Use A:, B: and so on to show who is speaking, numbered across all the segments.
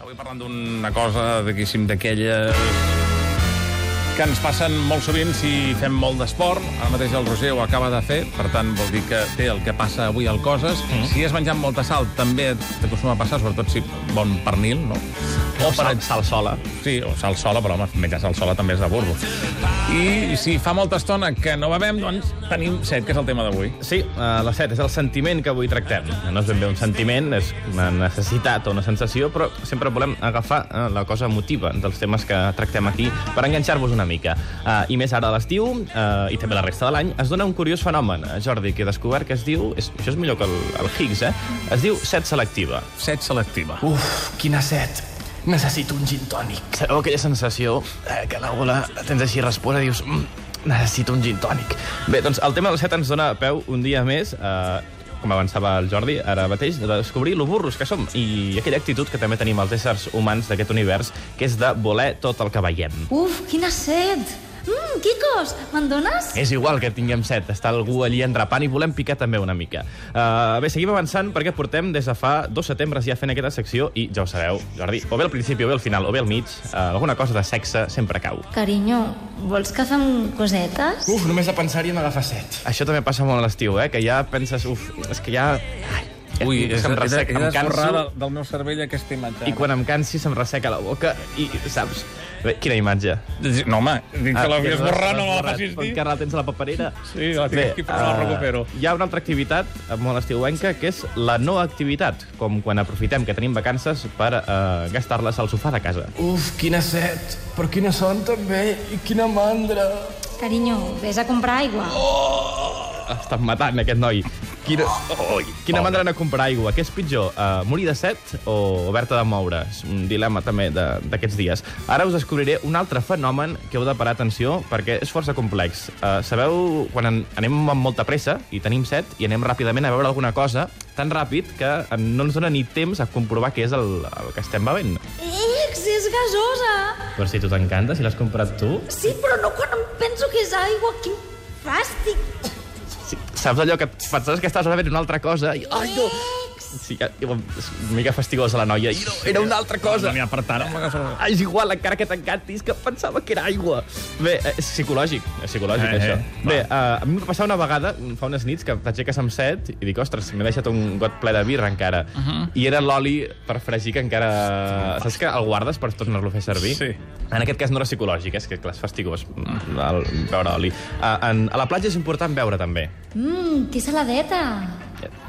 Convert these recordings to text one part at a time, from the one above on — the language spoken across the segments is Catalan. A: Avui parlant d'una cosa, diguéssim, d'aquella que ens passen molt sovint si fem molt d'esport. Ara mateix el Roger ho acaba de fer, per tant vol dir que té el que passa avui al Coses. Mm. Si has menjat molta sal, també t'acostuma a passar, sobretot si bon pernil, no?
B: O sal, sal sola.
A: Sí, o sal sola, però home, menjar sal sola també és de burro. I si fa molta estona que no bevem, doncs tenim set, que és el tema d'avui.
B: Sí, eh, la set és el sentiment que avui tractem. No és ben bé un sentiment, és una necessitat o una sensació, però sempre volem agafar eh, la cosa emotiva dels temes que tractem aquí per enganxar-vos una mica. Eh, I més ara a l'estiu, eh, i també la resta de l'any, es dona un curiós fenomen, eh, Jordi, que he descobert que es diu... És, això és millor que el, el Higgs, eh? Es diu set selectiva.
A: Set selectiva.
C: Uf, quina set. Necessito un gin tònic.
B: Sabeu aquella sensació eh, que la gola la tens així resposa i dius... Mm, necessito un gin tònic. Bé, doncs el tema del set ens dona peu un dia més, eh, com avançava el Jordi ara mateix, de descobrir lo burros que som i aquella actitud que també tenim els éssers humans d'aquest univers, que és de voler tot el que veiem.
D: Uf, quina set! Mmm, Quicos, me'n dones?
B: És igual que tinguem set, està algú allí enrapant i volem picar també una mica. Uh, bé, seguim avançant perquè portem des de fa dos setembres ja fent aquesta secció i ja ho sabeu, Jordi, o bé al principi, o bé al final, o bé al mig, uh, alguna cosa de sexe sempre cau.
D: Carinyo, vols que fem cosetes?
C: Uf, només de pensar-hi em agafa set.
B: Això també passa molt a l'estiu, eh? Que ja penses, uf, és que ja...
A: Ui, és,
B: se'm
A: he, de-
B: resseca,
A: he
B: em
A: d'esborrar
B: canso,
A: del, del meu cervell aquesta imatge. eh?
B: i quan em cansi se'm resseca la boca i, saps? Bé, quina imatge.
A: No, home, dic
B: Ah,
A: que l'havia
B: tens
A: esborrat, no me la
B: esborrat,
A: facis
B: però
A: dir.
B: Encara la tens a la paperera.
A: Sí, la tinc aquí, però no la
B: eh,
A: recupero.
B: Hi ha una altra activitat eh, molt estiuenca, que és la no activitat, com quan aprofitem que tenim vacances per eh, gastar-les al sofà de casa.
C: Uf, quina set. Però quina son, també. I quina mandra.
D: Carinyo, vés a comprar aigua.
B: Estàs matant, aquest noi. Quina, oh, quina mandra anar a comprar aigua. Què és pitjor, eh, morir de set o haver-te de moure? És un dilema també de- d'aquests dies. Ara us descobriré un altre fenomen que heu de parar atenció perquè és força complex. Eh, sabeu, quan en, anem amb molta pressa i tenim set i anem ràpidament a veure alguna cosa, tan ràpid que no ens dona ni temps a comprovar què és el, el que estem bevent.
D: Ex, és gasosa!
B: Però si tu t'encanta, si l'has comprat tu...
D: Sí, però no quan em penso que és aigua, quin fàstic!
B: Sí, saps allò que et- penses que estàs bevent una altra cosa i... Ai, no! Sí, que- és una mica fastigosa la noia. I no, era una altra cosa.
A: No n'hi ha per tant. home, que són-
B: Ah, és igual, encara que t'encantis, que pensava que era aigua. Bé, eh, és psicològic, és psicològic,
A: Eh,
B: eh, això.
A: eh,
B: Bé, eh, a mi em va passar una vegada, fa unes nits, que t'aixeques amb set i dic, ostres, m'he deixat un got ple de birra encara. Uh -huh. I era l'oli per fregir que encara... Saps que el guardes per tornar-lo a fer servir?
A: Sí.
B: En aquest cas no era psicològic, eh, és que clar, és fastigós mm, el, beure oli. Uh, en, a la platja és important beure, també
D: Mmm, que saladeta!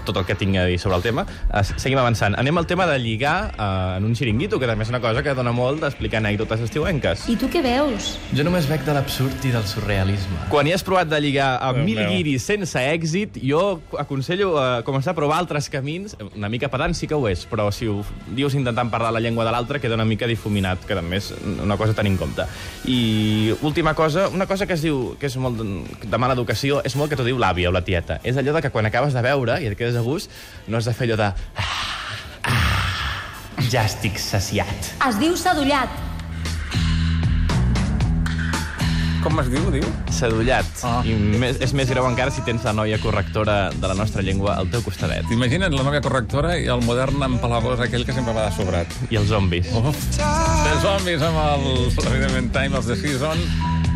B: tot el que tinc a dir sobre el tema. Eh, Seguim avançant. Anem al tema de lligar eh, en un xiringuito, que també és una cosa que dona molt d'explicar anècdotes estiuenques.
D: I tu què veus?
C: Jo només veig de l'absurd i del surrealisme.
B: Quan hi has provat de lligar amb
A: Déu
B: mil
A: meu.
B: guiris sense èxit, jo aconsello eh, començar a provar altres camins. Una mica pedant sí que ho és, però si ho dius intentant parlar la llengua de l'altre queda una mica difuminat, que també és una cosa a tenir en compte. I última cosa, una cosa que es diu que és molt de mala educació, és molt que t'ho diu l'àvia o la tieta. És allò de que quan acabes de veure i et quedes a gust, no has de fer allò de... "Ah, ah, ja estic saciat.
D: Es diu sadollat.
A: Com es diu, diu?
B: Sedullat.
A: Ah.
B: I més, és més greu encara si tens la noia correctora de la nostra llengua al teu costadet.
A: T'imagines la nòvia correctora i el modern empalagós aquell que sempre va de sobrat.
B: I els zombis.
A: Uf. Els zombis amb el, evidentment, Time of the Season,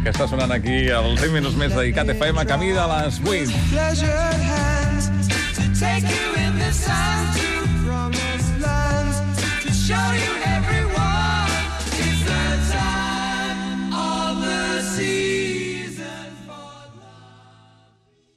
A: que està sonant aquí als 10 minuts més dedicat a FM, camí de les 8.
E: pleasured hands to take you in the sun.